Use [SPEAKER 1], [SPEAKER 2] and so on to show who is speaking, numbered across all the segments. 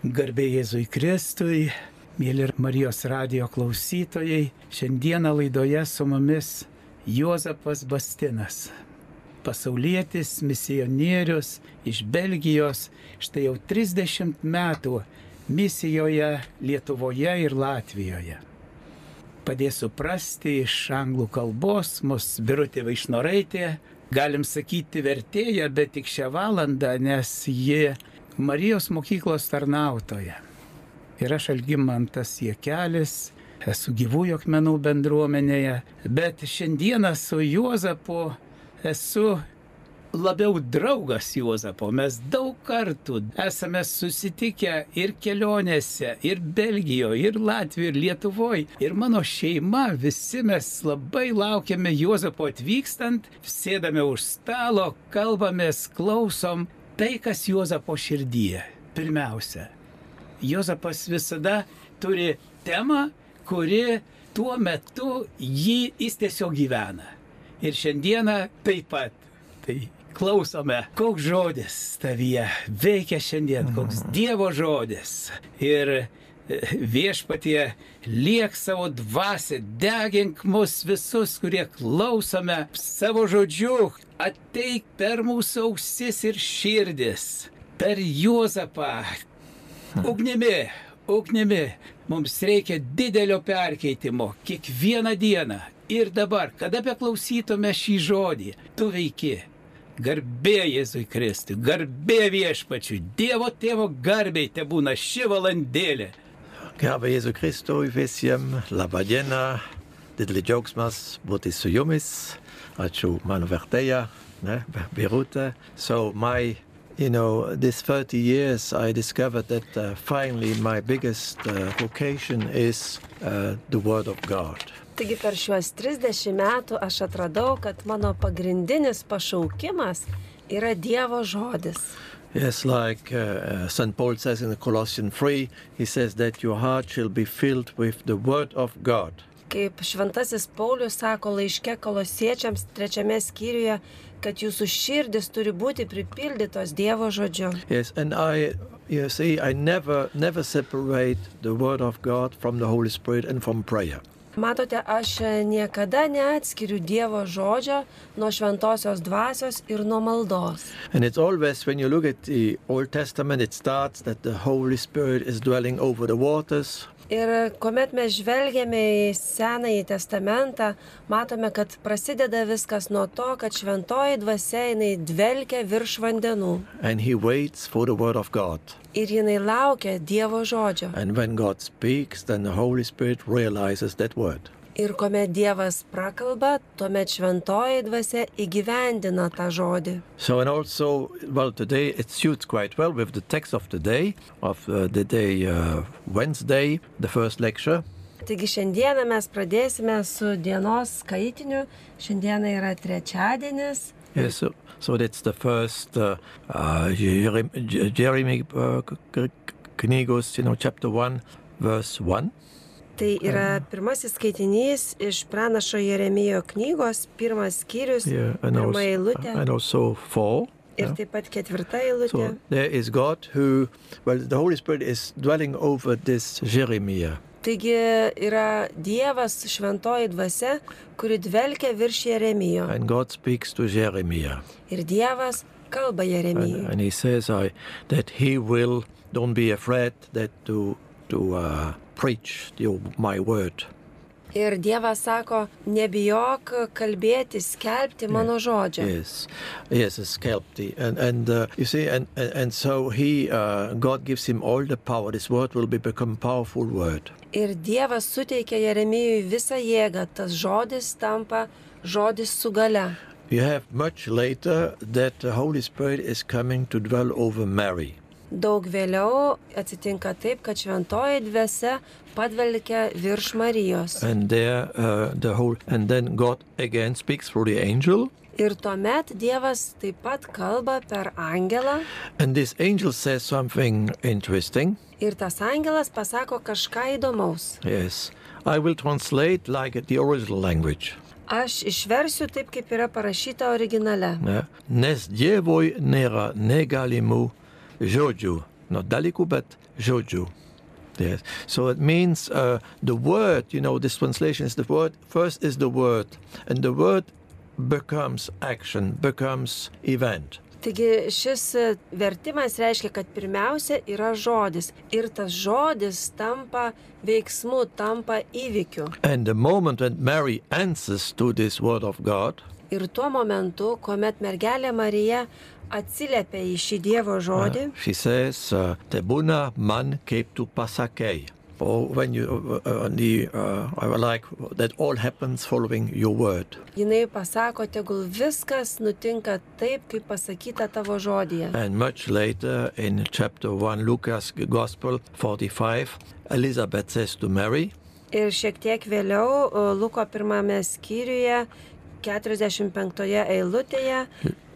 [SPEAKER 1] Garbė Jėzui Kristui, mėly Marijos radio klausytojai, šiandieną laidoje su mumis Juozapas Bastinas. Pasaulietis, misionierius iš Belgijos, štai jau 30 metų misijoje Lietuvoje ir Latvijoje. Padės suprasti iš anglų kalbos mus Birutė Vaišnoraitė, galim sakyti vertėja, bet tik šią valandą, nes ji Marijos mokyklos tarnautoja. Ir aš Algymantas Jekelis, esu gyvųjų akmenų bendruomenėje, bet šiandieną su Juozapu esu labiau draugas Juozapo. Mes daug kartų esame susitikę ir kelionėse, ir Belgijoje, ir Latvijoje, ir Lietuvoje. Ir mano šeima, visi mes labai laukiame Juozapo atvykstant, sėdame už stalo, kalbamės, klausom tai, kas Juozapo širdyje. Pirmiausia, Juozapas visada turi temą, kuri tuo metu jį jis tiesiog gyvena. Ir šiandieną taip pat. Tai klausome, koks žodis tavyje veikia šiandien, koks Dievo žodis. Ir e, viešpatie liek savo dvasę, degink mus visus, kurie klausome savo žodžių, ateik per mūsų ausis ir širdis, per Juozapą. Ugnimi, ugnimi, mums reikia didelio perkeitimo kiekvieną dieną. Ir dabar, kada beklausytume šį žodį, tu veiki. Garbė Jėzui Kristui, garbė viešpačiui, Dievo tėvo garbei te būna ši valandėlė.
[SPEAKER 2] Garbė Jėzų Kristų visiems, laba diena, didelis džiaugsmas būti su jumis, ačiū mano vertėja, ne, Birutė. So my, you know, this 30 years I discovered that uh, finally my biggest uh, vocation is uh, the Word of God.
[SPEAKER 3] Taigi per šiuos 30 metų aš atradau, kad mano pagrindinis pašaukimas yra Dievo žodis.
[SPEAKER 2] Yes, like uh, uh, St. Paul says in Colossians 3, he says that your heart shall be filled with the Word of God.
[SPEAKER 3] Kaip šventasis Paulius sako laiške kolosiečiams trečiame skyriuje, kad jūsų širdis turi būti pripildytos Dievo žodžiu.
[SPEAKER 2] Yes, and I, you see, I never, never separate the Word of God from the Holy Spirit and from prayer.
[SPEAKER 3] Matote, aš niekada neatskiriu Dievo žodžio nuo šventosios dvasios ir nuo maldos.
[SPEAKER 2] And it's always, when you look at the Old Testament, it starts that the Holy Spirit is dwelling over the waters.
[SPEAKER 3] Ir kuomet mes žvelgiame į Senąjį testamentą, matome, kad prasideda viskas nuo to, kad šventoji dvasia jinai dvelkia virš vandenų
[SPEAKER 2] And he waits for the Word of God.
[SPEAKER 3] ir jinai laukia Dievo žodžio.
[SPEAKER 2] And when God speaks, then the Holy Spirit realizes that word.
[SPEAKER 3] Ir kuomet Dievas prakalba, tuomet šventoji dvasia įgyvendina tą žodį.
[SPEAKER 2] So, and also, well, today it suits quite well with the text of the day, of uh, the day uh, Wednesday, the first lecture.
[SPEAKER 3] Taigi šiandieną mes pradėsime su dienos skaitiniu. Šiandiena yra trečiadienis.
[SPEAKER 2] Yes, so, so that's the first uh, uh, Jerem- Je- Jeremy uh, K- K- Knigos, you know, chapter 1, verse 1.
[SPEAKER 3] Tai yra pirmasis skaitinys iš pranašo Jeremijo knygos, pirmas skyrius,
[SPEAKER 2] Yeah, and,
[SPEAKER 3] pirma
[SPEAKER 2] also,
[SPEAKER 3] eilutė
[SPEAKER 2] and also 4.
[SPEAKER 3] ir taip pat ketvirta eilutė.
[SPEAKER 2] So there is God who, well, the Holy Spirit is dwelling over this Jeremiah.
[SPEAKER 3] Taigi yra Dievas šventoji dvasia, kuri dvelkia virš Jeremijo.
[SPEAKER 2] And God speaks to Jeremiah.
[SPEAKER 3] Ir Dievas kalba
[SPEAKER 2] And,
[SPEAKER 3] Jeremijui.
[SPEAKER 2] and he says I, that he will, don't be afraid that to, to uh, preach the, my word.
[SPEAKER 3] Ir Dievas sako, nebijok kalbėti, skelbti mano žodžią.
[SPEAKER 2] Yes, yes, a sculpty, and and uh, you see, and, and and so he, uh, God gives him all the power. This word will be become powerful word.
[SPEAKER 3] Ir Dievas suteikia Jeremijui visą jėgą, tas žodis tampa žodis su gale.
[SPEAKER 2] You have much later that the Holy Spirit is coming to dwell over Mary.
[SPEAKER 3] Daug vėliau atsitinka taip, kad šventoji dvasia padvelkia virš Marijos.
[SPEAKER 2] And there, uh, the whole, and then God again speaks through the angel,
[SPEAKER 3] Ir tuomet Dievas taip pat kalba per angelą
[SPEAKER 2] and this angel says something interesting.
[SPEAKER 3] ir tas angelas pasako kažką įdomaus.
[SPEAKER 2] Yes, I will translate like the original language.
[SPEAKER 3] Aš išversiu taip, kaip yra parašyta originale.
[SPEAKER 2] Ne, nes dievui nėra negalimų žodžių, not dalykų, but žodžių. Yes. So it means uh, the word, you know, this translation is the word, first is the word, and the word becomes action, becomes event.
[SPEAKER 3] Taigi šis e, vertimas reiškia, kad pirmiausia yra žodis ir tas žodis tampa veiksmu, tampa įvykiu.
[SPEAKER 2] And the moment when Mary answers to this word of God,
[SPEAKER 3] Ir tuo momentu, kuomet mergelė Marija atsiliepia į šį Dievo žodį,
[SPEAKER 2] uh, she says, uh, Tebuna man keptu pasakei. Or when you, uh, uh, on the, uh, I would like that all happens following your word.
[SPEAKER 3] jinai pasako, tegul viskas nutinka taip, kaip pasakyta tavo žodėje.
[SPEAKER 2] And much later in chapter 1, Lucas Gospel 45, Elizabeth says to Mary,
[SPEAKER 3] Ir šiek tiek vėliau e, Luko pirmame skyriuje, 45 eilutėje,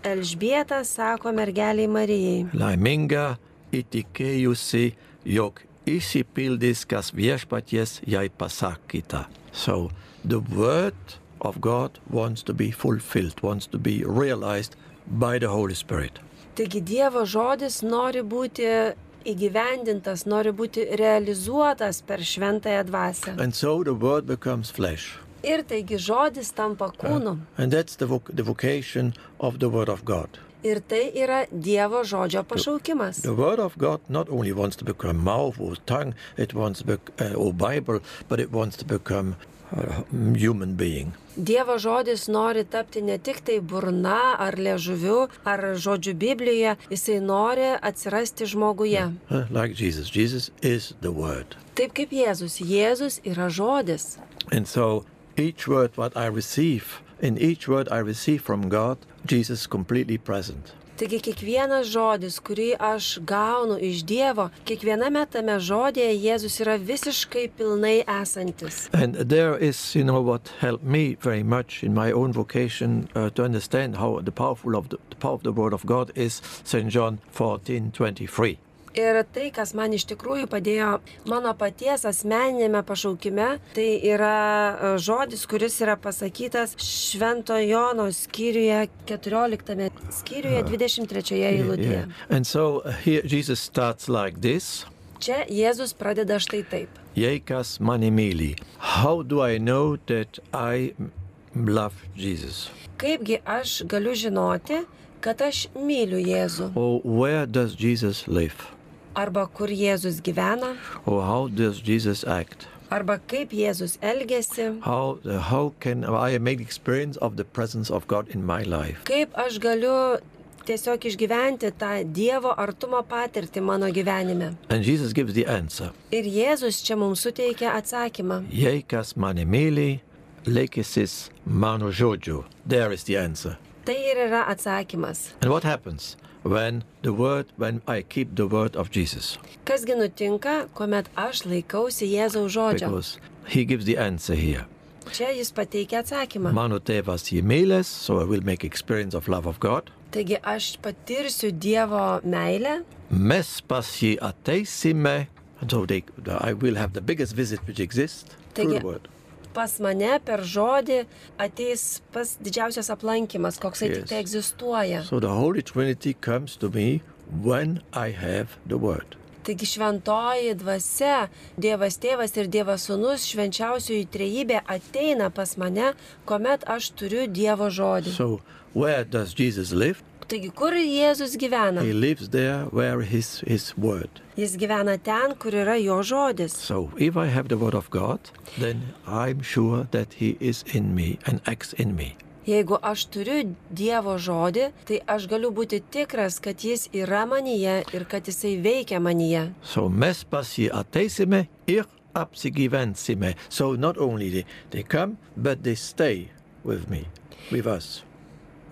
[SPEAKER 3] Elžbieta sako mergeliai Marijai.
[SPEAKER 2] Laiminga įtikėjusi, jog įsipildys, kas viešpaties jai pasakyta. So the word of God wants to be fulfilled, wants to be realized by the Holy Spirit.
[SPEAKER 3] Taigi Dievo žodis nori būti įgyvendintas, nori būti realizuotas per šventąją dvasę.
[SPEAKER 2] And so the word becomes flesh.
[SPEAKER 3] Ir taigi žodis tampa kūnu.
[SPEAKER 2] And that's the, voc- the vocation of the word of God.
[SPEAKER 3] Ir tai yra Dievo žodžio pašaukimas.
[SPEAKER 2] The word of God not only wants to become mouth or tongue, it wants to bec- uh, or Bible, but it wants to become uh, human being.
[SPEAKER 3] Dievo žodis nori tapti ne tik tai burna ar liežuviu ar žodžiu Biblijoje, jisai nori atsirasti žmoguje.
[SPEAKER 2] Uh, like Jesus. Jesus is the Word.
[SPEAKER 3] Taip kaip Jėzus. Jėzus yra žodis.
[SPEAKER 2] And so each word what I receive, in each word I receive from God, Jesus is completely present.
[SPEAKER 3] Taigi kiekvienas žodis, kurį aš gaunu iš Dievo, kiekviename tame žodėje Jėzus yra visiškai pilnai esantis.
[SPEAKER 2] And there is, you know, what helped me very much in my own vocation uh, to understand how the powerful of the, the power of the Word of God is St. John 14, 23.
[SPEAKER 3] Ir tai, kas man iš tikrųjų padėjo mano paties asmeninėme pašaukime, tai yra e, žodis, kuris yra pasakytas Švento Jono skyriuje 14 skyriuje 23 eilutėje.
[SPEAKER 2] And so uh, here Jesus starts like this.
[SPEAKER 3] Čia Jėzus pradeda štai taip.
[SPEAKER 2] Jekas manimili. How do I know that I m- love Jesus?
[SPEAKER 3] Kaipgi aš galiu žinoti, kad aš myliu Jėzų?
[SPEAKER 2] Or where does Jesus live?
[SPEAKER 3] Arba kur Jėzus gyvena?
[SPEAKER 2] Or how does Jesus act?
[SPEAKER 3] Arba kaip Jėzus elgesi?
[SPEAKER 2] How, uh, how can I make experience of the presence of God in my life?
[SPEAKER 3] Kaip aš galiu tiesiog išgyventi tą Dievo artumo patirtį mano gyvenime?
[SPEAKER 2] And Jesus gives the answer.
[SPEAKER 3] Ir Jėzus čia mums suteikia atsakymą.
[SPEAKER 2] Jekas manimili, lekesis mano žodžiu. There is the answer.
[SPEAKER 3] Tai ir yra atsakymas.
[SPEAKER 2] And what happens when the word, when I keep the word of Jesus?
[SPEAKER 3] Kasgi nutinka, kuomet aš laikausi Jėzaus žodžio?
[SPEAKER 2] Because he gives the answer here.
[SPEAKER 3] Čia jis pateikia atsakymą.
[SPEAKER 2] Mano tėvas jį mylės, so I will make experience of love of God.
[SPEAKER 3] Taigi aš patirsiu Dievo meilę,
[SPEAKER 2] Mes pas jį ateisime, and so they, I will have the biggest visit which exists through the
[SPEAKER 3] Taigi,
[SPEAKER 2] word.
[SPEAKER 3] pas mane per žodį ateis pas didžiausias aplankimas, koksai yes.
[SPEAKER 2] Yes.
[SPEAKER 3] tik tai egzistuoja.
[SPEAKER 2] So the Holy Trinity comes to me when I have the word.
[SPEAKER 3] Taigi šventoji dvasia, Dievas tėvas ir Dievas sūnus, švenčiausioji trejybė ateina pas mane, kuomet aš turiu Dievo žodį.
[SPEAKER 2] So where does Jesus live?
[SPEAKER 3] Taigi kur Jėzus gyvena?
[SPEAKER 2] He lives there where his his word.
[SPEAKER 3] Jis gyvena ten, kur yra jo žodis.
[SPEAKER 2] So if I have the word of God, then I'm sure that he is in me and acts in me.
[SPEAKER 3] Jeigu aš turiu Dievo žodį, tai aš galiu būti tikras, kad jis yra manyje ir kad jisai veikia manyje.
[SPEAKER 2] So mes pas jį ateisime ir apsigyvensime. So not only they, they come, but they stay with me, with us.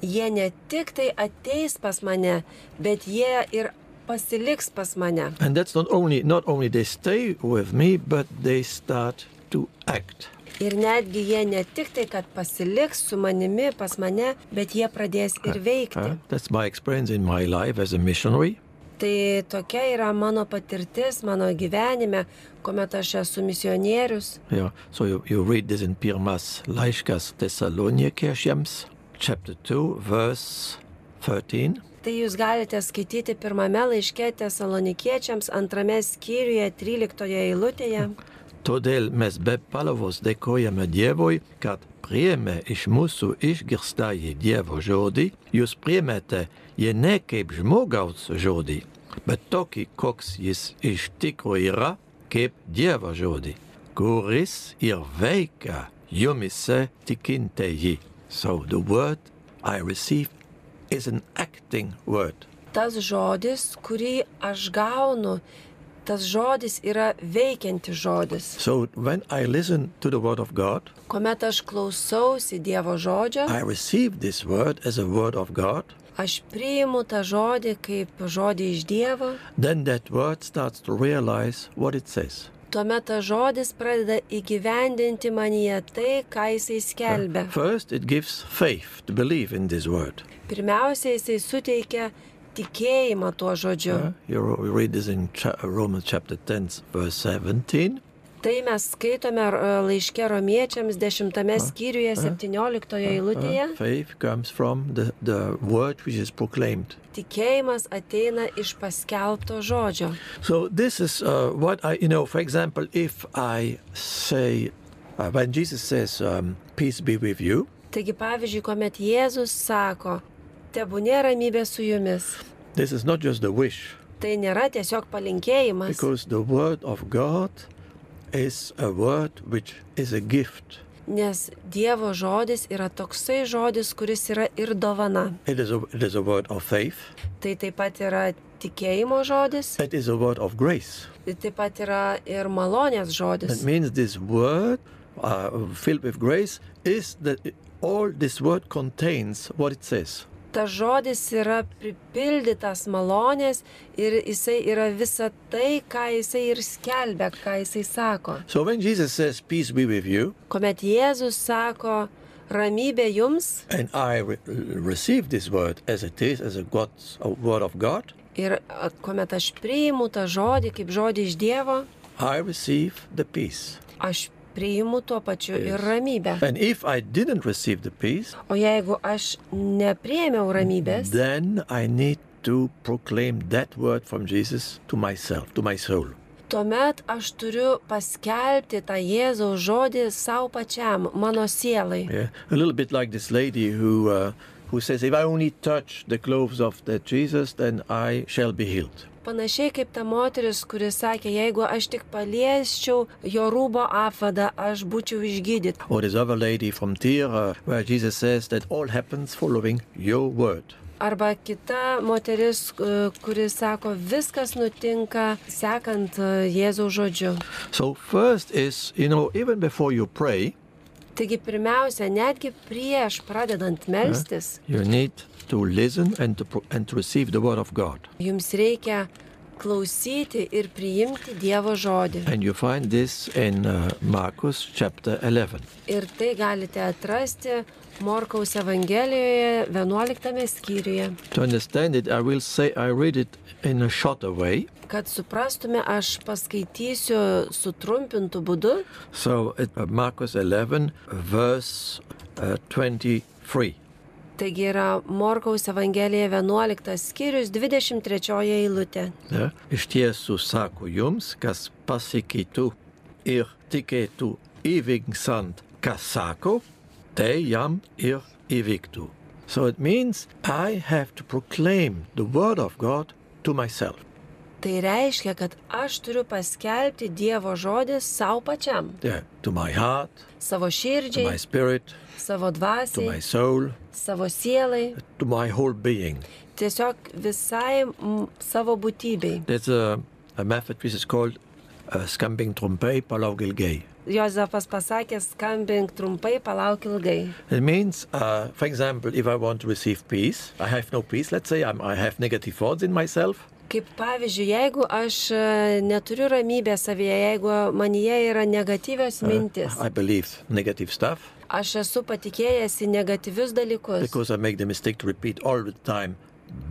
[SPEAKER 3] Jie ne tik tai ateis pas mane, bet jie ir pasiliks pas mane.
[SPEAKER 2] And that's not only not only they stay with me, but they start to act.
[SPEAKER 3] Ir netgi jie ne tik tai, kad pasiliks su manimi, pas mane, bet jie pradės ir veikti.
[SPEAKER 2] Huh? That's my experience in my life as a missionary.
[SPEAKER 3] Tai tokia yra mano patirtis mano gyvenime, kuomet aš esu misionierius.
[SPEAKER 2] Yeah. So you, you read this in Pirmas Laiškas Thessalonikerschiems, chapter 2, verse 13.
[SPEAKER 3] Tai jūs galite skaityti pirmame laiške tesalonikiečiams, antrame skyriuje, 13 eilutėje.
[SPEAKER 2] Todėl mes be palavos dėkojame Dievui, kad priėmė iš mūsų išgirstąjį Dievo žodį, jūs priėmėte jį ne kaip žmogaus žodį, bet tokį, koks jis iš tikro yra, kaip Dievo žodį, kuris ir veikia jumise tikintieji. So the word I receive is an acting word.
[SPEAKER 3] Tas žodis, kurį aš gaunu, tas žodis yra veikianti žodis.
[SPEAKER 2] So when I listen to the word of God,
[SPEAKER 3] Kuomet aš klausausi Dievo žodžio,
[SPEAKER 2] I receive this word as a word of God,
[SPEAKER 3] aš priimu tą žodį kaip žodį iš Dievo,
[SPEAKER 2] then that word starts to realize what it says.
[SPEAKER 3] tuomet tas žodis pradeda įgyvendinti manyje tai, ką jisai skelbia.
[SPEAKER 2] First, it gives faith to believe in this word.
[SPEAKER 3] Pirmiausia, jisai suteikia tikėjimą tuo žodžiu.
[SPEAKER 2] Uh, You re- we read this in cha- uh, Romans chapter 10, verse 17.
[SPEAKER 3] Tai mes skaitome e, laiške romiečiams 10 skyriuje 17
[SPEAKER 2] Uh,
[SPEAKER 3] eilutėje.
[SPEAKER 2] faith comes from the, the word which is proclaimed.
[SPEAKER 3] Tikėjimas ateina iš paskelbto žodžio.
[SPEAKER 2] So this is uh, what I, you know, for example, if I say, uh, when Jesus says, um, peace be with you,
[SPEAKER 3] Taigi pavyzdžiui, kuomet Jėzus sako, tebūnė ramybė su jumis,
[SPEAKER 2] this is not just a wish,
[SPEAKER 3] tai nėra tiesiog palinkėjimas,
[SPEAKER 2] because the word of God is a word which is a gift.
[SPEAKER 3] nes Dievo žodis yra toksai žodis, kuris yra ir dovana.
[SPEAKER 2] It is, a, it is a word of faith.
[SPEAKER 3] Tai taip pat yra tikėjimo žodis,
[SPEAKER 2] It is a word of grace.
[SPEAKER 3] tai taip pat yra ir malonės
[SPEAKER 2] That
[SPEAKER 3] žodis.
[SPEAKER 2] means this word uh, filled with grace is that all this word contains what it says.
[SPEAKER 3] Ta žodis yra pripildytas malonės ir jisai yra visa tai, ką jisai ir skelbia, ką jisai sako.
[SPEAKER 2] So when Jesus says, Peace be with you,
[SPEAKER 3] Komet Jėzus sako, ramybė jums,
[SPEAKER 2] and I re- receive this word as it is, as a, God's, a word of God,
[SPEAKER 3] Ir a, kuomet aš priimu tą žodį kaip žodį iš Dievo,
[SPEAKER 2] I receive the peace.
[SPEAKER 3] aš priimu tuo pačiu ir ramybę.
[SPEAKER 2] And if I didn't receive the peace,
[SPEAKER 3] O jeigu aš nepriėmiau ramybės,
[SPEAKER 2] then I need to proclaim that word from Jesus to myself, to my soul.
[SPEAKER 3] tuomet aš turiu paskelbti tą Jėzaus žodį savo pačiam, mano sielai.
[SPEAKER 2] Yeah, a little bit like this lady who uh, who says, "If I only touch the clothes of that Jesus, then I shall be healed."
[SPEAKER 3] Panašiai kaip ta moteris, kuris sakė, jeigu aš tik paliesčiau jo rūbo apvadą, aš būčiau išgydyta.
[SPEAKER 2] Or this other lady from Tyre, uh, where Jesus says that all happens following your word.
[SPEAKER 3] Arba kita moteris, e, kuri sako, viskas nutinka sekant e, Jėzaus žodžiu.
[SPEAKER 2] So first is you know even before you pray,
[SPEAKER 3] Taigi pirmiausia, netgi prieš pradedant melstis,
[SPEAKER 2] you need to listen and to pro- and to receive the word of God,
[SPEAKER 3] jums reikia klausyti ir priimti Dievo žodį.
[SPEAKER 2] and you find this in uh, Marcus chapter 11.
[SPEAKER 3] Ir tai galite atrasti Morkaus Evangelijoje 11 skyriuje.
[SPEAKER 2] To understand it, I will say I read it in a shorter way.
[SPEAKER 3] Kad suprastume, aš paskaitysiu sutrumpintų būdų.
[SPEAKER 2] So it, uh, Marcus 11, verse uh, 23.
[SPEAKER 3] Taigi yra Morkaus Evangelija 11 skyrius 23 eilutė.
[SPEAKER 2] Ne? Iš tiesų sako jums, kas pasakytų ir tikėtų įvyksant, kas sako, tai jam ir įvyktų. So it means I have to proclaim the word of God to myself.
[SPEAKER 3] Tai reiškia, kad aš turiu paskelbti Dievo žodį savo pačiam,
[SPEAKER 2] Yeah, to my heart,
[SPEAKER 3] savo
[SPEAKER 2] to my
[SPEAKER 3] širdžiai,
[SPEAKER 2] spirit,
[SPEAKER 3] savo
[SPEAKER 2] to my
[SPEAKER 3] dvasiai,
[SPEAKER 2] soul,
[SPEAKER 3] savo sielai,
[SPEAKER 2] to my whole being.
[SPEAKER 3] tiesiog visai mm, savo būtybei.
[SPEAKER 2] There's a, a method which is called uh, scamping trompe palaugelgei.
[SPEAKER 3] Jozefas pasakė, skambink trumpai, palauk ilgai.
[SPEAKER 2] It means, uh, for example, if I want to receive peace, I have no peace. Let's say I'm, I have negative thoughts in myself.
[SPEAKER 3] Kaip pavyzdžiui, jeigu aš e, neturiu ramybės savyje, jeigu manyje yra negatyvios mintis,
[SPEAKER 2] I believe negative stuff
[SPEAKER 3] aš esu patikėjęs į negatyvius dalykus,
[SPEAKER 2] because I make the mistake to repeat all the time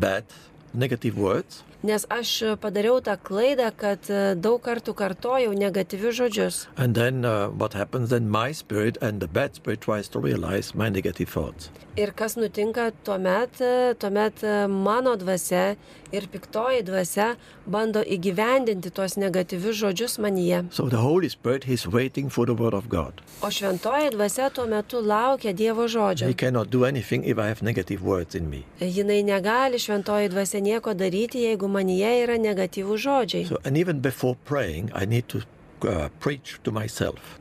[SPEAKER 2] bad, negative words.
[SPEAKER 3] nes aš e, padariau tą klaidą, kad e, daug kartų kartojau negatyvius žodžius.
[SPEAKER 2] And then uh, what happens? Then my spirit and the bad spirit tries to realize my negative thoughts.
[SPEAKER 3] Ir kas nutinka tuomet, E, tuomet e, mano dvasia ir piktoji dvasia bando įgyvendinti tuos negatyvius žodžius manyje.
[SPEAKER 2] So the Holy Spirit is waiting for the Word of God.
[SPEAKER 3] O šventoji dvasia tuo metu laukia Dievo žodžio.
[SPEAKER 2] He cannot do anything if I have negative words in me.
[SPEAKER 3] Jinai negali šventoji dvasia nieko daryti, jeigu manyje yra negatyvų žodžiai.
[SPEAKER 2] So, and even before praying, I need to uh, preach to myself.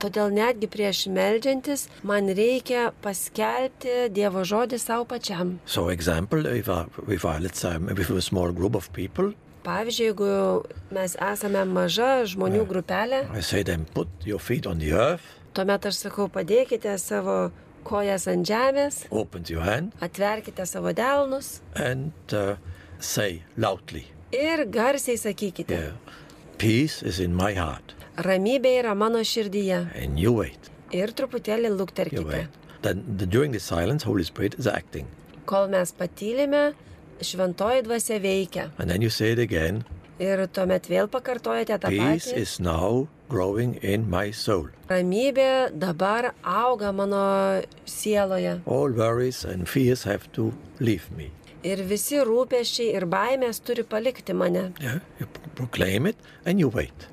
[SPEAKER 3] Todėl netgi prieš melžiantis man reikia paskelbti Dievo žodį savo pačiam.
[SPEAKER 2] So, example, if I, if I let's say, I'm with a small group of people,
[SPEAKER 3] Pavyzdžiui, jeigu mes esame maža žmonių grupelė,
[SPEAKER 2] I say then put your feet on the earth,
[SPEAKER 3] tuomet aš sakau, padėkite savo kojas ant žemės,
[SPEAKER 2] open your hand,
[SPEAKER 3] atverkite savo delnus
[SPEAKER 2] and uh, say loudly,
[SPEAKER 3] ir garsiai sakykite,
[SPEAKER 2] yeah, peace is in my heart,
[SPEAKER 3] ramybė yra mano širdyje
[SPEAKER 2] and you wait,
[SPEAKER 3] ir truputėlį
[SPEAKER 2] you wait.
[SPEAKER 3] lukterkite.
[SPEAKER 2] Then the, during the silence, Holy Spirit is acting,
[SPEAKER 3] Kol mes patylime, šventoji dvasia veikia.
[SPEAKER 2] and then you say it again,
[SPEAKER 3] Ir tuomet vėl pakartojate tą
[SPEAKER 2] peace
[SPEAKER 3] patį.
[SPEAKER 2] is now growing in my soul.
[SPEAKER 3] Ramybė dabar auga mano sieloje.
[SPEAKER 2] All worries and fears have to leave me.
[SPEAKER 3] Ir visi rūpeščiai ir baimės turi palikti mane.
[SPEAKER 2] Yeah, you pro- proclaim it and you wait.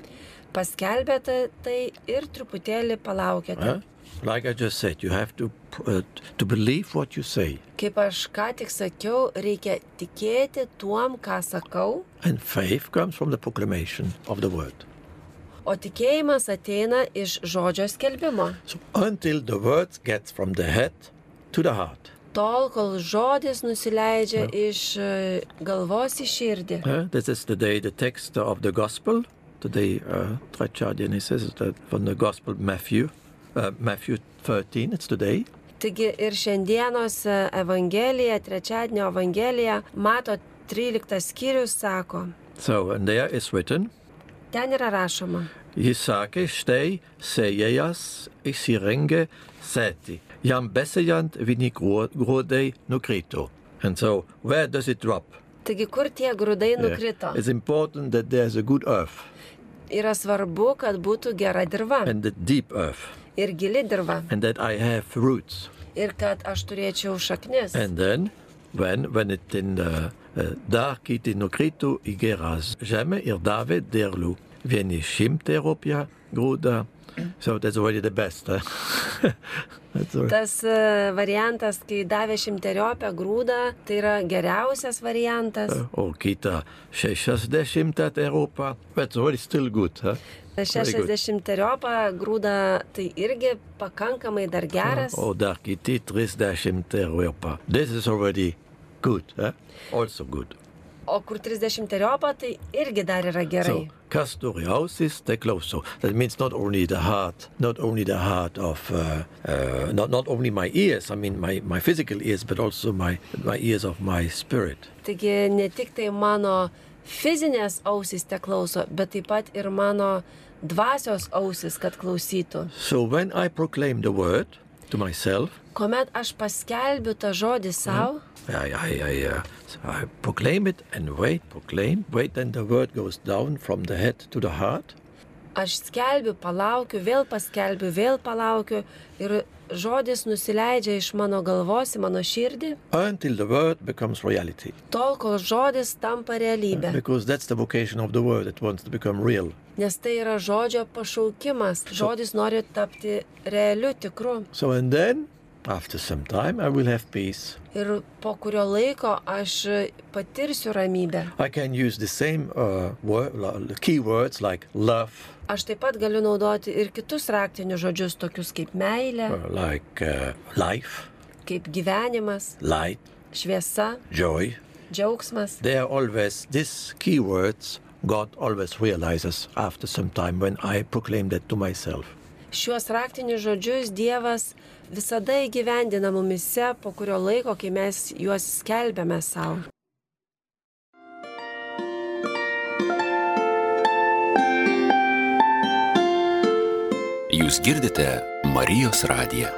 [SPEAKER 3] Paskelbėte tai ir truputėlį palaukėte.
[SPEAKER 2] huh? Like I just said, you have to uh, to believe what you say
[SPEAKER 3] Kaip aš ką tik sakiau, reikia tikėti tuom, ką sakau,
[SPEAKER 2] And faith comes from the proclamation of the word.
[SPEAKER 3] o tikėjimas ateina iš žodžio skelbimo.
[SPEAKER 2] So until the word gets from the head to the heart,
[SPEAKER 3] Tol, kol žodis nusileidžia iš e, galvos į širdį.
[SPEAKER 2] Eh, this is today the text of the gospel. Today, uh, Trachadian says that from the gospel Matthew, uh, Matthew 13. It's today.
[SPEAKER 3] Taigi ir šiandienos e, Evangelija, trečiadienio Evangelija, mato 13 skyrius sako,
[SPEAKER 2] So and there is written,
[SPEAKER 3] ten yra rašoma.
[SPEAKER 2] Jisake stei sejejas isirenge seti jam besejant vini gro- grodei nukrito. And so, where does it drop?
[SPEAKER 3] Taigi kur tie grūdai
[SPEAKER 2] Yeah.
[SPEAKER 3] nukrito?
[SPEAKER 2] It's important that there's a good earth.
[SPEAKER 3] Yra svarbu, kad būtų gera dirba
[SPEAKER 2] and the deep earth,
[SPEAKER 3] ir gili dirba
[SPEAKER 2] and that I have roots.
[SPEAKER 3] ir kad aš turėčiau šaknis.
[SPEAKER 2] And then, when when it in uh, the dar kiti nokritu igeras jame irdave derlu vieni shim teropia gruda. So that's already the best. Huh? that's all.
[SPEAKER 3] Tas e, variantas, kai davė šimteriopę grūdą, tai yra geriausias variantas.
[SPEAKER 2] Or Oh, kita šešiasdešimta teropa. That's already still good. Huh? very good.
[SPEAKER 3] 60-teriopą grūdą tai irgi pakankamai dar geras.
[SPEAKER 2] Or dar kiti trisdešimta teropa. This is already good. Huh? Also good.
[SPEAKER 3] O kur 30-teriopą tai irgi dar yra gerai.
[SPEAKER 2] So, Castoriausis tecloso. That means not only the heart, not only the heart of, uh, uh, not, not only my ears, I mean my, my physical ears, but also my, my ears of my spirit.
[SPEAKER 3] Taigi ne tik tai mano fizinės ausys te klauso, bet taip pat ir mano dvasios ausys, kad klausytų.
[SPEAKER 2] So when I proclaim the word to myself,
[SPEAKER 3] Komet aš paskelbiu tą žodį savo,
[SPEAKER 2] I, I, I, uh, I proclaim it and wait, proclaim, wait, then the word goes down from the head to the heart.
[SPEAKER 3] aš skelbiu, palaukiu, vėl paskelbiu, vėl palaukiu ir žodis nusileidžia iš mano galvos į mano širdį,
[SPEAKER 2] Until the word becomes reality,
[SPEAKER 3] tol kol žodis tampa realybė.
[SPEAKER 2] because that's the vocation of the word. It wants to become real.
[SPEAKER 3] Nes tai yra žodžio pašaukimas. Žodis nori tapti realiu, tikru.
[SPEAKER 2] So and then, after some time, I will have peace.
[SPEAKER 3] Ir po kurio laiko aš patirsiu ramybę.
[SPEAKER 2] I can use the same uh, word, keywords like love,
[SPEAKER 3] Aš taip pat galiu naudoti ir kitus raktinius žodžius, tokius kaip meilė,
[SPEAKER 2] uh, like uh, life,
[SPEAKER 3] kaip gyvenimas,
[SPEAKER 2] light,
[SPEAKER 3] šviesa,
[SPEAKER 2] joy.
[SPEAKER 3] džiaugsmas.
[SPEAKER 2] They are always these keywords God always realizes after some time when I proclaim that to myself.
[SPEAKER 3] Šiuos raktinius žodžius Dievas visada įgyvendina mumise po kurio laiko, kai mes juos skelbėme savo.
[SPEAKER 4] Jūs girdite Marijos radiją.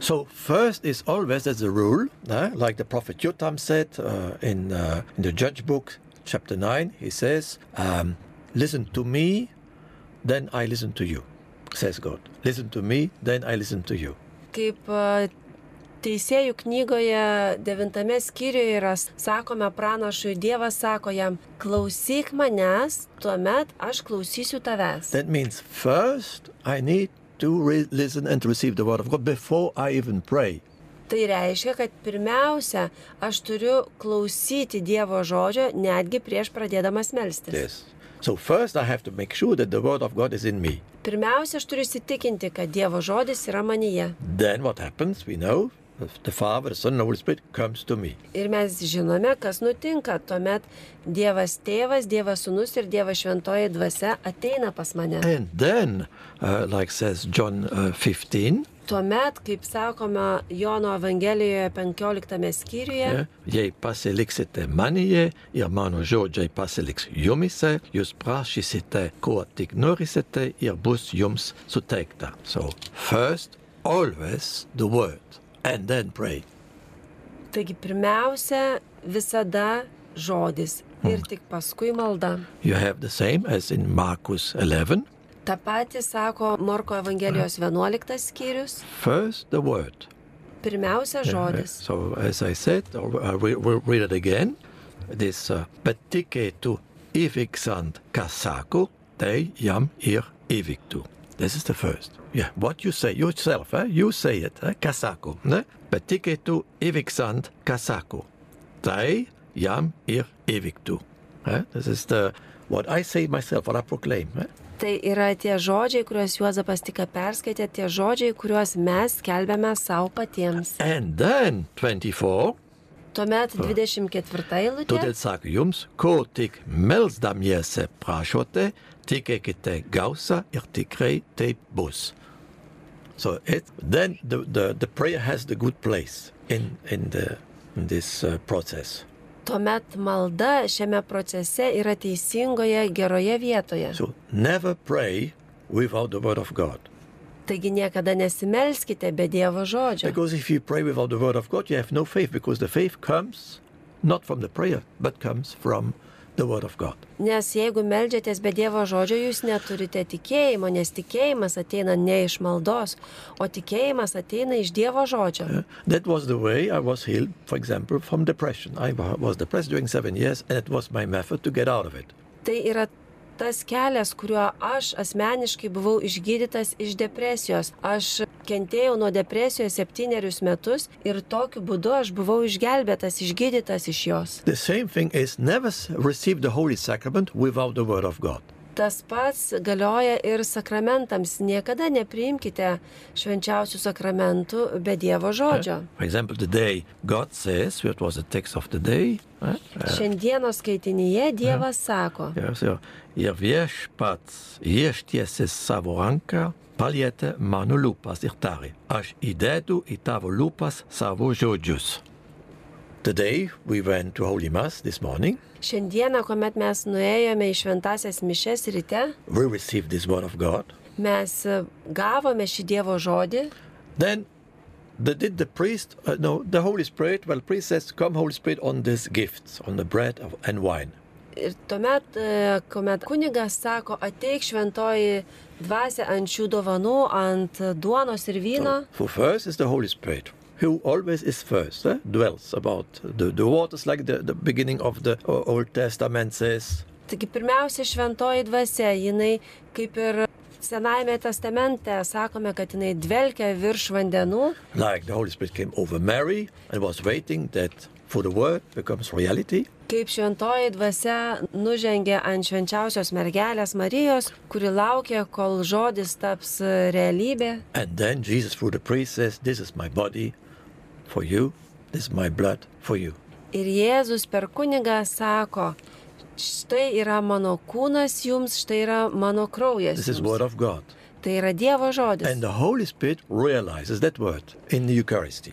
[SPEAKER 2] So first is always as a rule, eh, like the prophet Jotam said uh, in, uh, in the Judge book, chapter 9, he says, um, listen to me, then I listen to you, says God. Listen to me, then I listen to you.
[SPEAKER 3] Kaip a, teisėjų knygoje devintame skyriuje yra s- sakome pranašui, Dievas sako jam, klausyk manęs, tuomet aš klausysiu tavęs.
[SPEAKER 2] That means first I need to re- listen and receive the word of God before I even pray.
[SPEAKER 3] Tai reiškia, kad pirmiausia, aš turiu klausyti Dievo žodžio netgi prieš pradėdamas melstis.
[SPEAKER 2] Yes. So first I have to make sure that the word of God is in me.
[SPEAKER 3] Pirmiausia, aš turiu įsitikinti, kad Dievo žodis yra manyje.
[SPEAKER 2] Then what happens? We know the Father, the Son, and the Holy Spirit comes to me.
[SPEAKER 3] Ir mes žinome, kas nutinka. Tuomet Dievas tėvas, Dievas sunus ir Dievas šventoji dvasia ateina pas mane.
[SPEAKER 2] And then, uh, like says John uh, 15,
[SPEAKER 3] Tuomet, kaip sakoma Jono Evangelijoje 15 skyriuje,
[SPEAKER 2] yeah, Jej pasilixite manie, ir mano žodžiai pasilix jumise, jūs prašysite, ko tik norisite, ir bus jums suteikta. So, first, always the word, and then pray.
[SPEAKER 3] taigi pirmiausia visada žodis ir tik paskui malda.
[SPEAKER 2] You have the same as in Markus 11.
[SPEAKER 3] Ta pati sako Morko Evangelijos 11 skyrius,
[SPEAKER 2] First, the word,
[SPEAKER 3] pirmiausia žodis.
[SPEAKER 2] Uh, So, as I said, uh, or I will will read it again. This uh, patike tu evixant kasako, te jam ir evictu. This is the first. Yeah, what you say yourself, eh? you say it, eh? kasako. Ne? Patike tu evixant kasako, te jam ir evictu. Eh? This is the what I say myself, what I proclaim. Eh?
[SPEAKER 3] Tai yra tie žodžiai, kuriuos Juozapas tik ką perskaitė, tie žodžiai, kuriuos mes kelbėme savo patiems.
[SPEAKER 2] And then 24.
[SPEAKER 3] Tuomet 24 eilutė.
[SPEAKER 2] Todėl sako jums, ko tik melsdamiesi prašote, tikėkite gausa ir tikrai taip bus. So it, then the, the, the prayer has the good place in, in, the, in this uh, process.
[SPEAKER 3] Tuomet malda šiame procese yra teisingoje, geroje vietoje.
[SPEAKER 2] So never pray without the word of God.
[SPEAKER 3] Taigi niekada nesimelskite be Dievo žodžio.
[SPEAKER 2] Because if you pray without the word of God, you have no faith because the faith comes not from the prayer, but comes from the word of God.
[SPEAKER 3] Nes jeigu melžiatės be Dievo žodžio, jūs neturite tikėjimo, nes tikėjimas ateina ne iš maldos, o tikėjimas ateina iš Dievo žodžio.
[SPEAKER 2] That was the way I was healed, for example, from depression. I wa- was depressed during seven years, and it was my method to get out of it.
[SPEAKER 3] Tai yra tas kelias, kuriuo aš asmeniškai buvau išgydytas iš depresijos. Aš kentėjau nuo depresijos septynerius metus ir tokiu būdu aš buvau išgelbėtas, išgydytas iš jos.
[SPEAKER 2] The same thing is never s- receive the Holy Sacrament without the Word of God.
[SPEAKER 3] Tas pats galioja ir sakramentams. Niekada nepriimkite švenčiausių sakramentų be Dievo žodžio.
[SPEAKER 2] For example, today, God says, it was the text of the day, eh? Uh,
[SPEAKER 3] Šiandienos skaitinyje Dievas sako,
[SPEAKER 2] yeah, so, Ir viešpats ištiesė savo ranką, palietė mano lūpas ir tarė, aš įdedu į tavo lūpas savo žodžius. Today we went to Holy Mass this morning.
[SPEAKER 3] šiandieną, kuomet mes nuėjome į šventasias mišes ryte,
[SPEAKER 2] We received this Word of God.
[SPEAKER 3] mes gavome šį Dievo žodį
[SPEAKER 2] Then the, did the priest, uh, no, the Holy Spirit, well, priest says, Come, Holy Spirit, on these gifts, on the bread of, and wine.
[SPEAKER 3] Ir tuomet, e, kuomet kunigas sako, ateik šventoji dvasia ant šių dovanų, ant duonos ir vyno,
[SPEAKER 2] For first is the Holy Spirit, who always is first, eh? dwells about the, the waters, like the, the beginning of the O- Old Testament says.
[SPEAKER 3] taigi pirmiausia šventoji dvasia, jinai kaip ir Senajame testamente sakome, kad jinai dvelkia virš vandenų,
[SPEAKER 2] Like the Holy Spirit came over Mary and was waiting that for the word becomes reality.
[SPEAKER 3] kaip šventoji dvasia nužengė ant švenčiausios mergelės Marijos, kuri laukia, kol žodis taps e, realybė.
[SPEAKER 2] And then Jesus, through the priest, says, This is my body for you, this is my blood for you.
[SPEAKER 3] Ir Jėzus per kunigą sako, štai yra mano kūnas jums, štai yra mano kraujas.
[SPEAKER 2] This is
[SPEAKER 3] jums."
[SPEAKER 2] word of God.
[SPEAKER 3] Tai yra Dievo žodis.
[SPEAKER 2] uh, And the Holy Spirit realizes that word in the Eucharisty.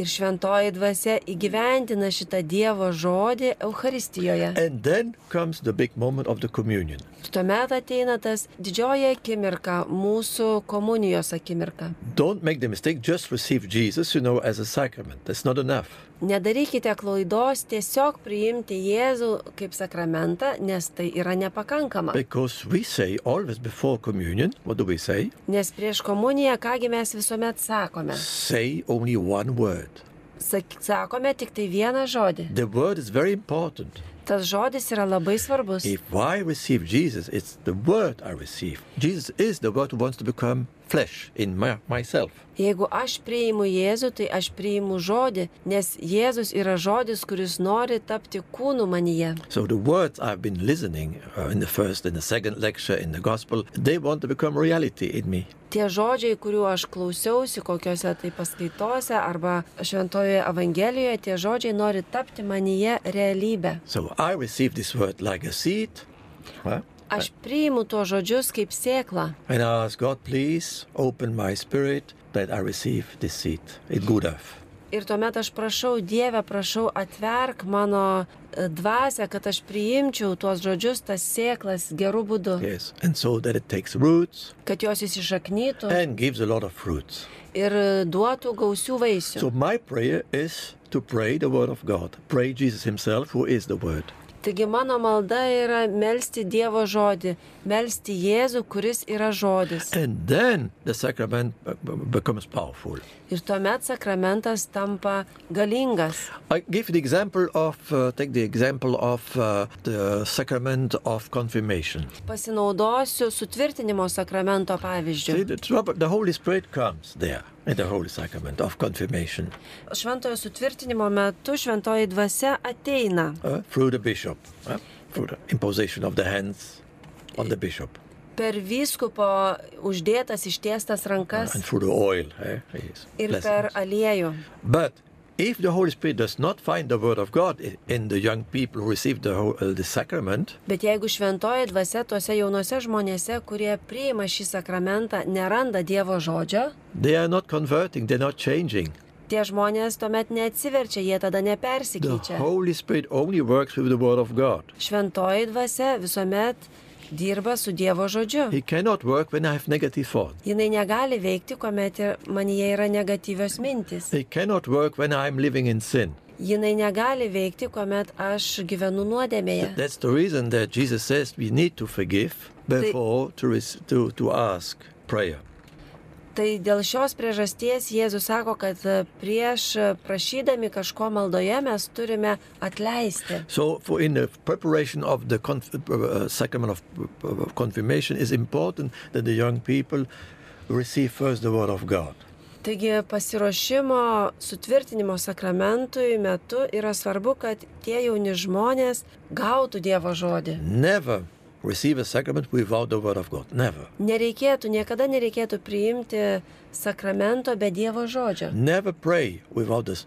[SPEAKER 3] Ir šventoji dvasia įgyventina šitą Dievo žodį Euharistijoje.
[SPEAKER 2] And then comes the big moment of the communion.
[SPEAKER 3] Tuomet ateina tas didžioji akimirka, mūsų komunijos akimirka.
[SPEAKER 2] Don't make the mistake, just receive Jesus, you know, as a sacrament. That's not enough.
[SPEAKER 3] Nedarykite klaidos tiesiog priimti Jėzų kaip sakramentą, nes tai yra nepakankama.
[SPEAKER 2] Because we say always before communion, what do we say?
[SPEAKER 3] Nes prieš komuniją, kągi mes visuomet sakome?
[SPEAKER 2] Say only one word.
[SPEAKER 3] Sak- Sakome tik tai vieną žodį.
[SPEAKER 2] The word is very important.
[SPEAKER 3] Tas žodis yra labai svarbus.
[SPEAKER 2] If I receive Jesus, it's the word I receive. Jesus is the word who wants to become flesh in my, myself.
[SPEAKER 3] Jeigu aš priimu Jėzų, tai aš priimu žodį, nes Jėzus yra žodis, kuris nori tapti kūnu manyje.
[SPEAKER 2] So the words I've been listening uh, in the first and the second lecture in the gospel, they want to become reality in me.
[SPEAKER 3] Tie žodžiai, kuriuo aš klausiausi, kokiuose tai paskaitose arba Šventojoje Evangelijoje, tie žodžiai nori tapti manyje realybę.
[SPEAKER 2] So I receive this word like a seed. huh?
[SPEAKER 3] Aš priimu tuos žodžius kaip sėklą
[SPEAKER 2] And I ask God, please open my spirit that I receive this seed. It's good enough.
[SPEAKER 3] ir tuomet aš prašau Dievę, prašau atverk mano e, dvasę, kad aš priimčiau tuos žodžius, tas sėklas gerų būdų,
[SPEAKER 2] Yes. And so that it takes roots
[SPEAKER 3] kad jos įsišaknytų
[SPEAKER 2] and gives a lot of fruits.
[SPEAKER 3] ir e, duotų gausių vaisių.
[SPEAKER 2] So my prayer is to pray the word of God. Pray Jesus himself, who is the word.
[SPEAKER 3] Taigi mano malda yra melstį Dievo žodį, melstį Jėzų, kuris yra žodis.
[SPEAKER 2] And then the sacrament be- be- becomes powerful.
[SPEAKER 3] Ir tuomet sakramentas tampa galingas.
[SPEAKER 2] I give the example of, uh, take the example of uh, the sacrament of confirmation.
[SPEAKER 3] Pasinaudosiu sutvirtinimo sakramento pavyzdžiu.
[SPEAKER 2] See, the, trouble, the Holy Spirit comes there in the Holy Sacrament of confirmation
[SPEAKER 3] Šventojo sutvirtinimo metu šventoji dvasia ateina
[SPEAKER 2] uh, through the bishop, uh, through the imposition of the hands on the bishop uh,
[SPEAKER 3] per vyskupo uždėtas ištiestas rankas
[SPEAKER 2] and through the oil. eh, his
[SPEAKER 3] ir per
[SPEAKER 2] blessings.
[SPEAKER 3] aliejų.
[SPEAKER 2] But if the Holy Spirit does not find the Word of God i- in the young people who receive the, ho- uh, the sacrament,
[SPEAKER 3] Bet jeigu šventoji dvasia tuose jaunuose žmonėse, kurie priima šį sakramentą, neranda Dievo žodžio,
[SPEAKER 2] they are not converting, they're not changing.
[SPEAKER 3] tie žmonės tuomet neatsiverčia, jie tada
[SPEAKER 2] The
[SPEAKER 3] nepersikeičia.
[SPEAKER 2] Holy Spirit only works with the Word of God.
[SPEAKER 3] Šventoji dvasia visuomet dirba su Dievo žodžiu.
[SPEAKER 2] He cannot work when I have negative thoughts.
[SPEAKER 3] Jis negali veikti, kuomet ir man jie yra negatyvios mintis.
[SPEAKER 2] He cannot work when I'm living in sin.
[SPEAKER 3] Jis negali veikti, kuomet aš gyvenu nuodėmėje.
[SPEAKER 2] That's the reason that Jesus says we need to forgive before to, res- to, to ask prayer.
[SPEAKER 3] Tai dėl šios priežasties Jėzus sako, kad e, prieš e, prašydami kažko maldoje mes turime atleisti.
[SPEAKER 2] So, for in the preparation of the conf- uh, uh, sacrament of uh, uh, confirmation, it's important that the young people receive first the word of God.
[SPEAKER 3] Taigi pasiruošimo sutvirtinimo sakramentui metu yra svarbu, kad tie jauni žmonės gautų Dievo žodį.
[SPEAKER 2] Never receive a sacrament without the word of God. Never.
[SPEAKER 3] Nereikėtų, niekada nereikėtų priimti sakramento be Dievo žodžio.
[SPEAKER 2] Never pray without this,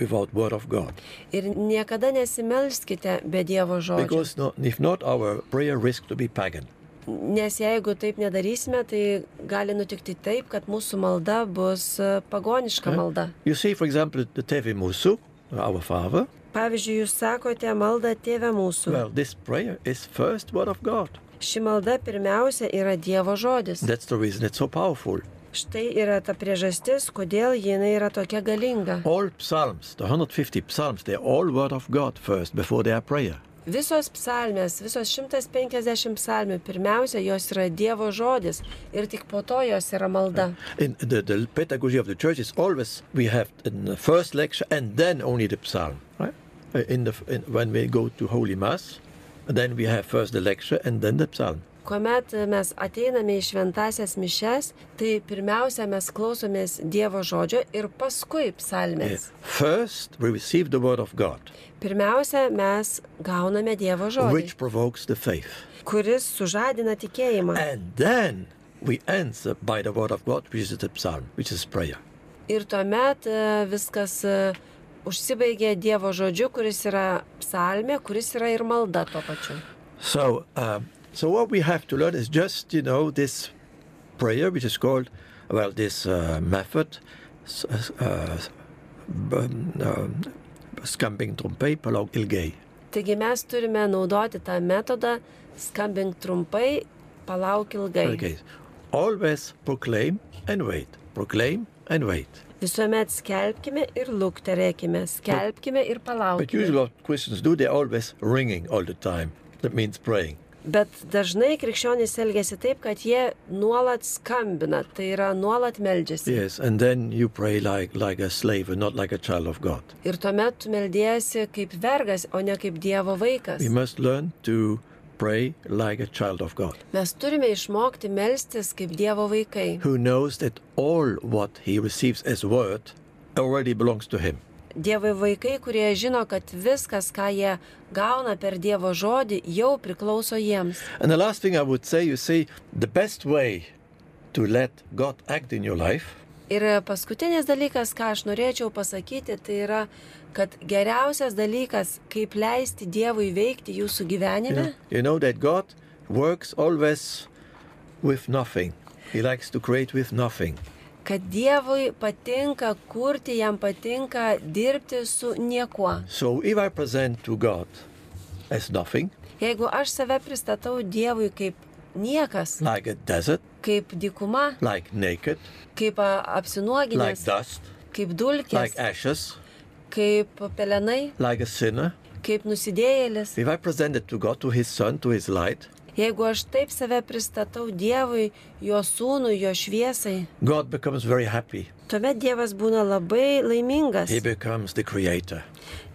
[SPEAKER 2] without word of God.
[SPEAKER 3] Ir niekada nesimelskite be Dievo žodžio.
[SPEAKER 2] Because no, if not, our prayer risks to be pagan.
[SPEAKER 3] Nes jeigu taip nedarysime, tai gali nutikti taip, kad mūsų malda bus e, pagoniška malda.
[SPEAKER 2] You see, for example, the Teve Musu, our Father.
[SPEAKER 3] Pavyzdžiui, jūs sakote maldą Tėve mūsų.
[SPEAKER 2] Well, this prayer is first word of God.
[SPEAKER 3] Ši malda pirmiausia yra Dievo žodis.
[SPEAKER 2] That's the reason it's so powerful.
[SPEAKER 3] Štai yra ta priežastis, kodėl jinai yra tokia galinga.
[SPEAKER 2] All psalms, the 150 psalms, they're all word of God first before they are prayer.
[SPEAKER 3] Visos psalmės, visos 150 psalmių, pirmiausia, jos yra Dievo žodis ir tik po to jos yra malda.
[SPEAKER 2] In the, the pedagogy of the church is always we have in the first lecture and then only the psalm. Right? Uh, In the in, when we go to Holy Mass, then we have first the lecture and then the psalm.
[SPEAKER 3] Kuomet mes ateiname į šventasias mišes, tai pirmiausia mes klausomės Dievo žodžio ir paskui psalmės.
[SPEAKER 2] First we receive the word of God,
[SPEAKER 3] Pirmiausia, mes gauname Dievo žodį,
[SPEAKER 2] which provokes the faith,
[SPEAKER 3] kuris sužadina tikėjimą.
[SPEAKER 2] and then we answer by the word of God, which is the psalm, which is prayer.
[SPEAKER 3] Ir tuomet e, viskas e, užsibaigė Dievo žodžiu, kuris yra psalmė, kuris yra ir malda tuo pačiu.
[SPEAKER 2] So, um, so what we have to learn is just you know this prayer, which is called well this uh, method, s- uh, b- uh, na, skambink trumpai, palauk ilgai.
[SPEAKER 3] Taigi mes turime naudoti tą metodą skambink trumpai, palauk ilgai.
[SPEAKER 2] Okay. Always proclaim and wait. Proclaim and wait.
[SPEAKER 3] Visuomet skelbkime ir lukterėkime, skelbkime ir
[SPEAKER 2] But
[SPEAKER 3] palaukime.
[SPEAKER 2] usually what Christians do, they're always ringing all the time. That means praying.
[SPEAKER 3] Bet dažnai krikščionys elgesi taip, kad jie nuolat skambina, tai yra nuolat meldžiasi.
[SPEAKER 2] Yes, and then you pray like, like a slave and not like a child of God.
[SPEAKER 3] Ir tuomet tu meldiesi kaip vergas, o ne kaip Dievo vaikas.
[SPEAKER 2] We must learn to pray like a child of God
[SPEAKER 3] Mes turime išmokti melstis kaip Dievo vaikai.
[SPEAKER 2] who knows that all what he receives as word already belongs to him.
[SPEAKER 3] Dievai vaikai, kurie žino, kad viskas, ką jie gauna per Dievo žodį, jau priklauso jiems.
[SPEAKER 2] And the last thing I would say, you see, the best way to let God act in your life
[SPEAKER 3] Ir paskutinis dalykas, ką aš norėčiau pasakyti, tai yra, kad geriausias dalykas, kaip leisti Dievui veikti jūsų gyvenime,
[SPEAKER 2] You know that God works always with nothing. He likes to create with nothing.
[SPEAKER 3] kad Dievui patinka kurti, jam patinka dirbti su niekuo.
[SPEAKER 2] So if I present to God as nothing,
[SPEAKER 3] Jeigu aš save pristatau Dievui kaip niekas,
[SPEAKER 2] like a desert,
[SPEAKER 3] kaip dykuma,
[SPEAKER 2] like naked,
[SPEAKER 3] kaip a,
[SPEAKER 2] like
[SPEAKER 3] apsinuoginęs,
[SPEAKER 2] dust,
[SPEAKER 3] kaip dulkės,
[SPEAKER 2] like ashes,
[SPEAKER 3] kaip pelenai,
[SPEAKER 2] like a sinner,
[SPEAKER 3] kaip nusidėjėlis.
[SPEAKER 2] if I present it to God, to His Son, to His light,
[SPEAKER 3] Jeigu aš taip save pristatau Dievui, jo sūnui, jo šviesai,
[SPEAKER 2] God becomes very happy.
[SPEAKER 3] tuomet Dievas būna labai laimingas,
[SPEAKER 2] He becomes the creator,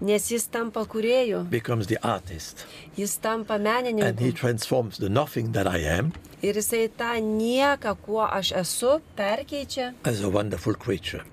[SPEAKER 3] nes jis tampa kuriejų,
[SPEAKER 2] becomes the artist,
[SPEAKER 3] jis tampa
[SPEAKER 2] and He
[SPEAKER 3] menininku
[SPEAKER 2] transforms the nothing that I am
[SPEAKER 3] ir jisai tą nieką, kuo aš esu, perkeičia
[SPEAKER 2] as a wonderful creature.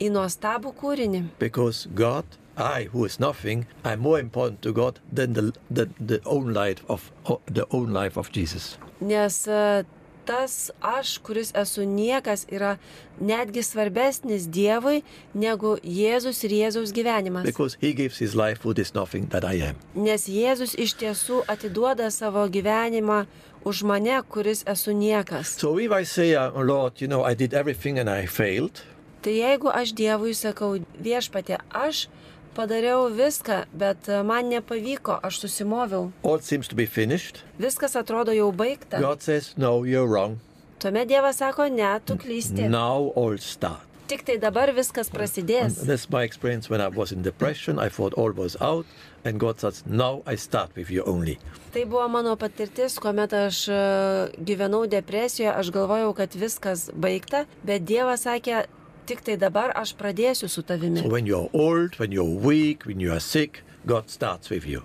[SPEAKER 3] į nuostabų kūrinį.
[SPEAKER 2] because God, I who is nothing, I'm more important to God than the the, the own life of o- the own life of Jesus.
[SPEAKER 3] Nes e, tas aš, kuris esu niekas, yra netgi svarbesnis Dievui negu Jėzus ir Jėzaus gyvenimas.
[SPEAKER 2] Because He gives His life for this nothing that I am.
[SPEAKER 3] Nes Jėzus iš tiesų atiduoda savo gyvenimą už mane, kuris esu niekas.
[SPEAKER 2] So if I say, uh, "Oh, Lord, you know, I did everything and I failed,
[SPEAKER 3] Tai jeigu aš Dievui sakau viešpatė, aš padariau viską, bet e, man nepavyko, aš susimoviau,
[SPEAKER 2] all seems to be finished,
[SPEAKER 3] viskas atrodo jau baigta,
[SPEAKER 2] God says, No, you're wrong.
[SPEAKER 3] tuomet Dievas sako, ne, tu klysti.
[SPEAKER 2] Now all start.
[SPEAKER 3] Tik tai dabar viskas prasidės.
[SPEAKER 2] That's my experience when I was in depression. I thought all was out, and God says, Now I start with you only.
[SPEAKER 3] Tai buvo mano patirtis, kuomet aš e, gyvenau depresijoje, aš galvojau, kad viskas baigta, bet Dievas sakė, tik tai dabar aš pradėsiu su tavimi.
[SPEAKER 2] When you're old, when you're weak, when you are sick, God starts with you.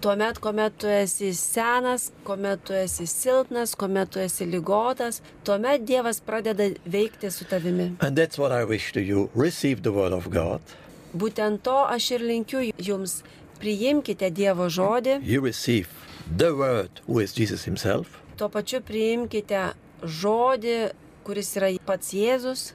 [SPEAKER 3] Tuomet, kuomet tu esi senas, kuomet tu esi silpnas, kuomet tu esi lygotas, tuomet Dievas pradeda veikti su tavimi.
[SPEAKER 2] And that's what I wish to you. Receive the word of God.
[SPEAKER 3] Būtent to aš ir linkiu jums. Priimkite Dievo žodį,
[SPEAKER 2] You receive the word who is Jesus himself.
[SPEAKER 3] tuo pačiu priimkite žodį, kuris yra pats Jėzus,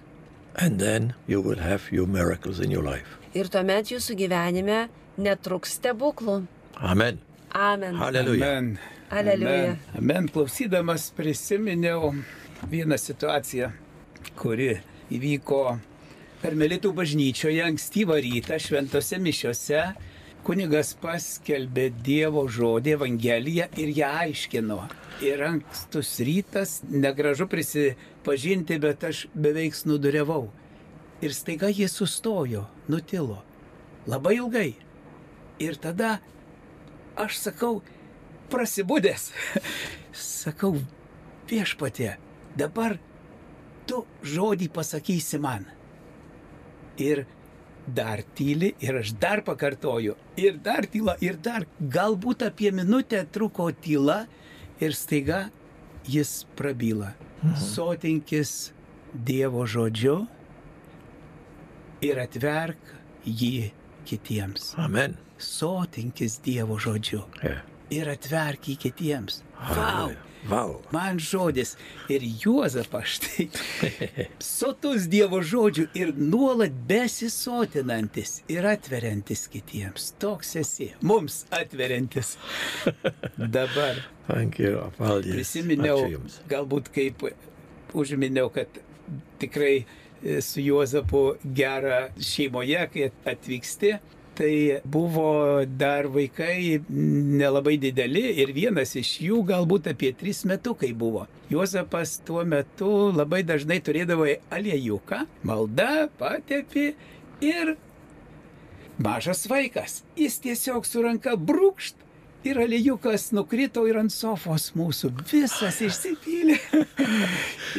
[SPEAKER 2] And then you will have your miracles in your life.
[SPEAKER 3] ir tuomet jūsų gyvenime netruks stebuklų.
[SPEAKER 2] Amen.
[SPEAKER 3] Amen.
[SPEAKER 2] Hallelujah.
[SPEAKER 1] Amen.
[SPEAKER 3] Aleliuja.
[SPEAKER 1] Amen. Amen. Klausydamas prisiminiau vieną situaciją, kuri įvyko Karmelitų bažnyčioje ankstyvą rytą šventose mišiuose. Kunigas paskelbė Dievo žodį, Evangeliją ir ją aiškino. Ir ankstus rytas, negražu prisipažinti, bet aš beveik snudurevau. Ir staiga jis sustojo, nutilo. Labai ilgai. Ir tada aš sakau, prasibūdęs. Sakau, viešpatė, dabar tu žodį pasakysi man. Ir dar tyli, ir aš dar pakartoju, ir dar tyla, ir dar. Galbūt apie minutę truko tyla ir staiga jis prabyla. Sotinkis Dievo žodžiu ir atverk jį kitiems.
[SPEAKER 2] Amen.
[SPEAKER 1] Sotinkis Dievo žodžiu
[SPEAKER 2] Yeah.
[SPEAKER 1] ir atverk jį kitiems. Wow.
[SPEAKER 2] Wow.
[SPEAKER 1] Man žodis ir Juozapas štai. Sotus Dievo žodžių ir nuolat besisotinantis ir atveriantis kitiems. Toks esi. Mums atveriantis. Dabar
[SPEAKER 2] Thank you. Well, yes.
[SPEAKER 1] prisiminiau,
[SPEAKER 2] James.
[SPEAKER 1] galbūt kaip užminiau, kad tikrai e, su Juozapu gera šeimoje, kai atvyksti. Tai buvo dar vaikai nelabai dideli ir vienas iš jų galbūt apie tris metukai buvo. Juozapas tuo metu labai dažnai turėdavo aliejuką, malda, patepi ir mažas vaikas. Jis tiesiog su ranka brūkšt ir aliejukas nukrito ir ant sofos mūsų. Visas išsipylė.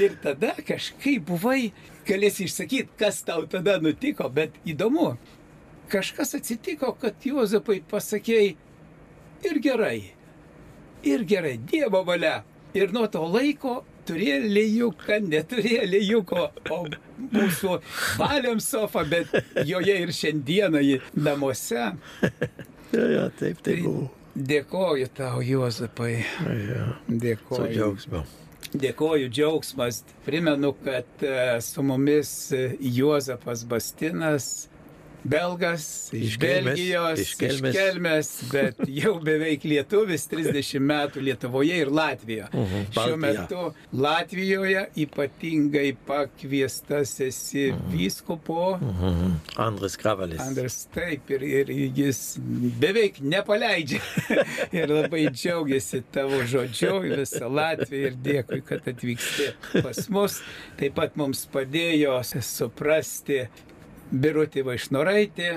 [SPEAKER 1] ir tada kažkaip buvai, galėsi išsakyti, kas tau tada nutiko, bet įdomu. Kažkas atsitiko, kad Juozapai pasakėjai ir gerai, ir gerai, Dievo valia. Ir nuo to laiko turėjo lėjuką, neturėjo lėjuko, o mūsų valiam sofą, bet joje ir šiandieną į namuose.
[SPEAKER 2] Ja, ja, taip, taip buvo.
[SPEAKER 1] Dėkoju tau, Juozapai.
[SPEAKER 2] Ja, su
[SPEAKER 1] Dėkoju.
[SPEAKER 2] džiaugsmu.
[SPEAKER 1] Dėkoju, džiaugsmas. Primenu, kad e, su mumis e, Juozapas Bastinas, belgas iš,
[SPEAKER 2] Iš
[SPEAKER 1] iš
[SPEAKER 2] Kelmės,
[SPEAKER 1] Belgijos,
[SPEAKER 2] iš Kelmės.
[SPEAKER 1] iš Kelmės, bet jau beveik lietuvis, 30 metų Lietuvoje ir Latvijoje.
[SPEAKER 2] Mhm,
[SPEAKER 1] Šiuo
[SPEAKER 2] Baltija.
[SPEAKER 1] metu Latvijoje ypatingai pakviestas esi vyskupo.
[SPEAKER 2] Mhm. Andres Kravalis.
[SPEAKER 1] Andras taip ir, ir jis beveik nepaleidžia ir labai džiaugiasi tavo žodžiu į visą Latviją ir dėkui, kad atvyksti pas mus. Taip pat mums padėjo suprasti Birutį Vaišnoraitį.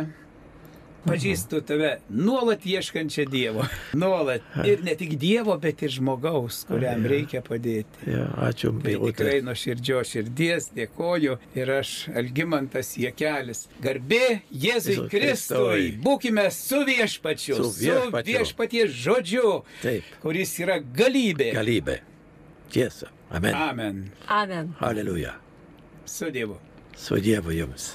[SPEAKER 1] Pažįstu tave nuolat ieškančią Dievo. Nuolat. Ir ne tik Dievo, bet ir žmogaus, kuriam reikia padėti.
[SPEAKER 2] Ja, ačiū,
[SPEAKER 1] Tai tikrai
[SPEAKER 2] Birutė.
[SPEAKER 1] nuo širdžio širdies dėkoju ir aš Algymantas Jekelis. Garbė Jėzui
[SPEAKER 2] Jėzui
[SPEAKER 1] Kristui,
[SPEAKER 2] Kristui.
[SPEAKER 1] būkime su viešpačiu,
[SPEAKER 2] Su viešpačiu.
[SPEAKER 1] viešpaties žodžiu,
[SPEAKER 2] Taip.
[SPEAKER 1] kuris yra galybė.
[SPEAKER 2] Galybė. Tiesa. Amen.
[SPEAKER 1] Amen.
[SPEAKER 3] Amen.
[SPEAKER 2] Hallelujah.
[SPEAKER 1] Su Dievu.
[SPEAKER 2] Su Dievu jums.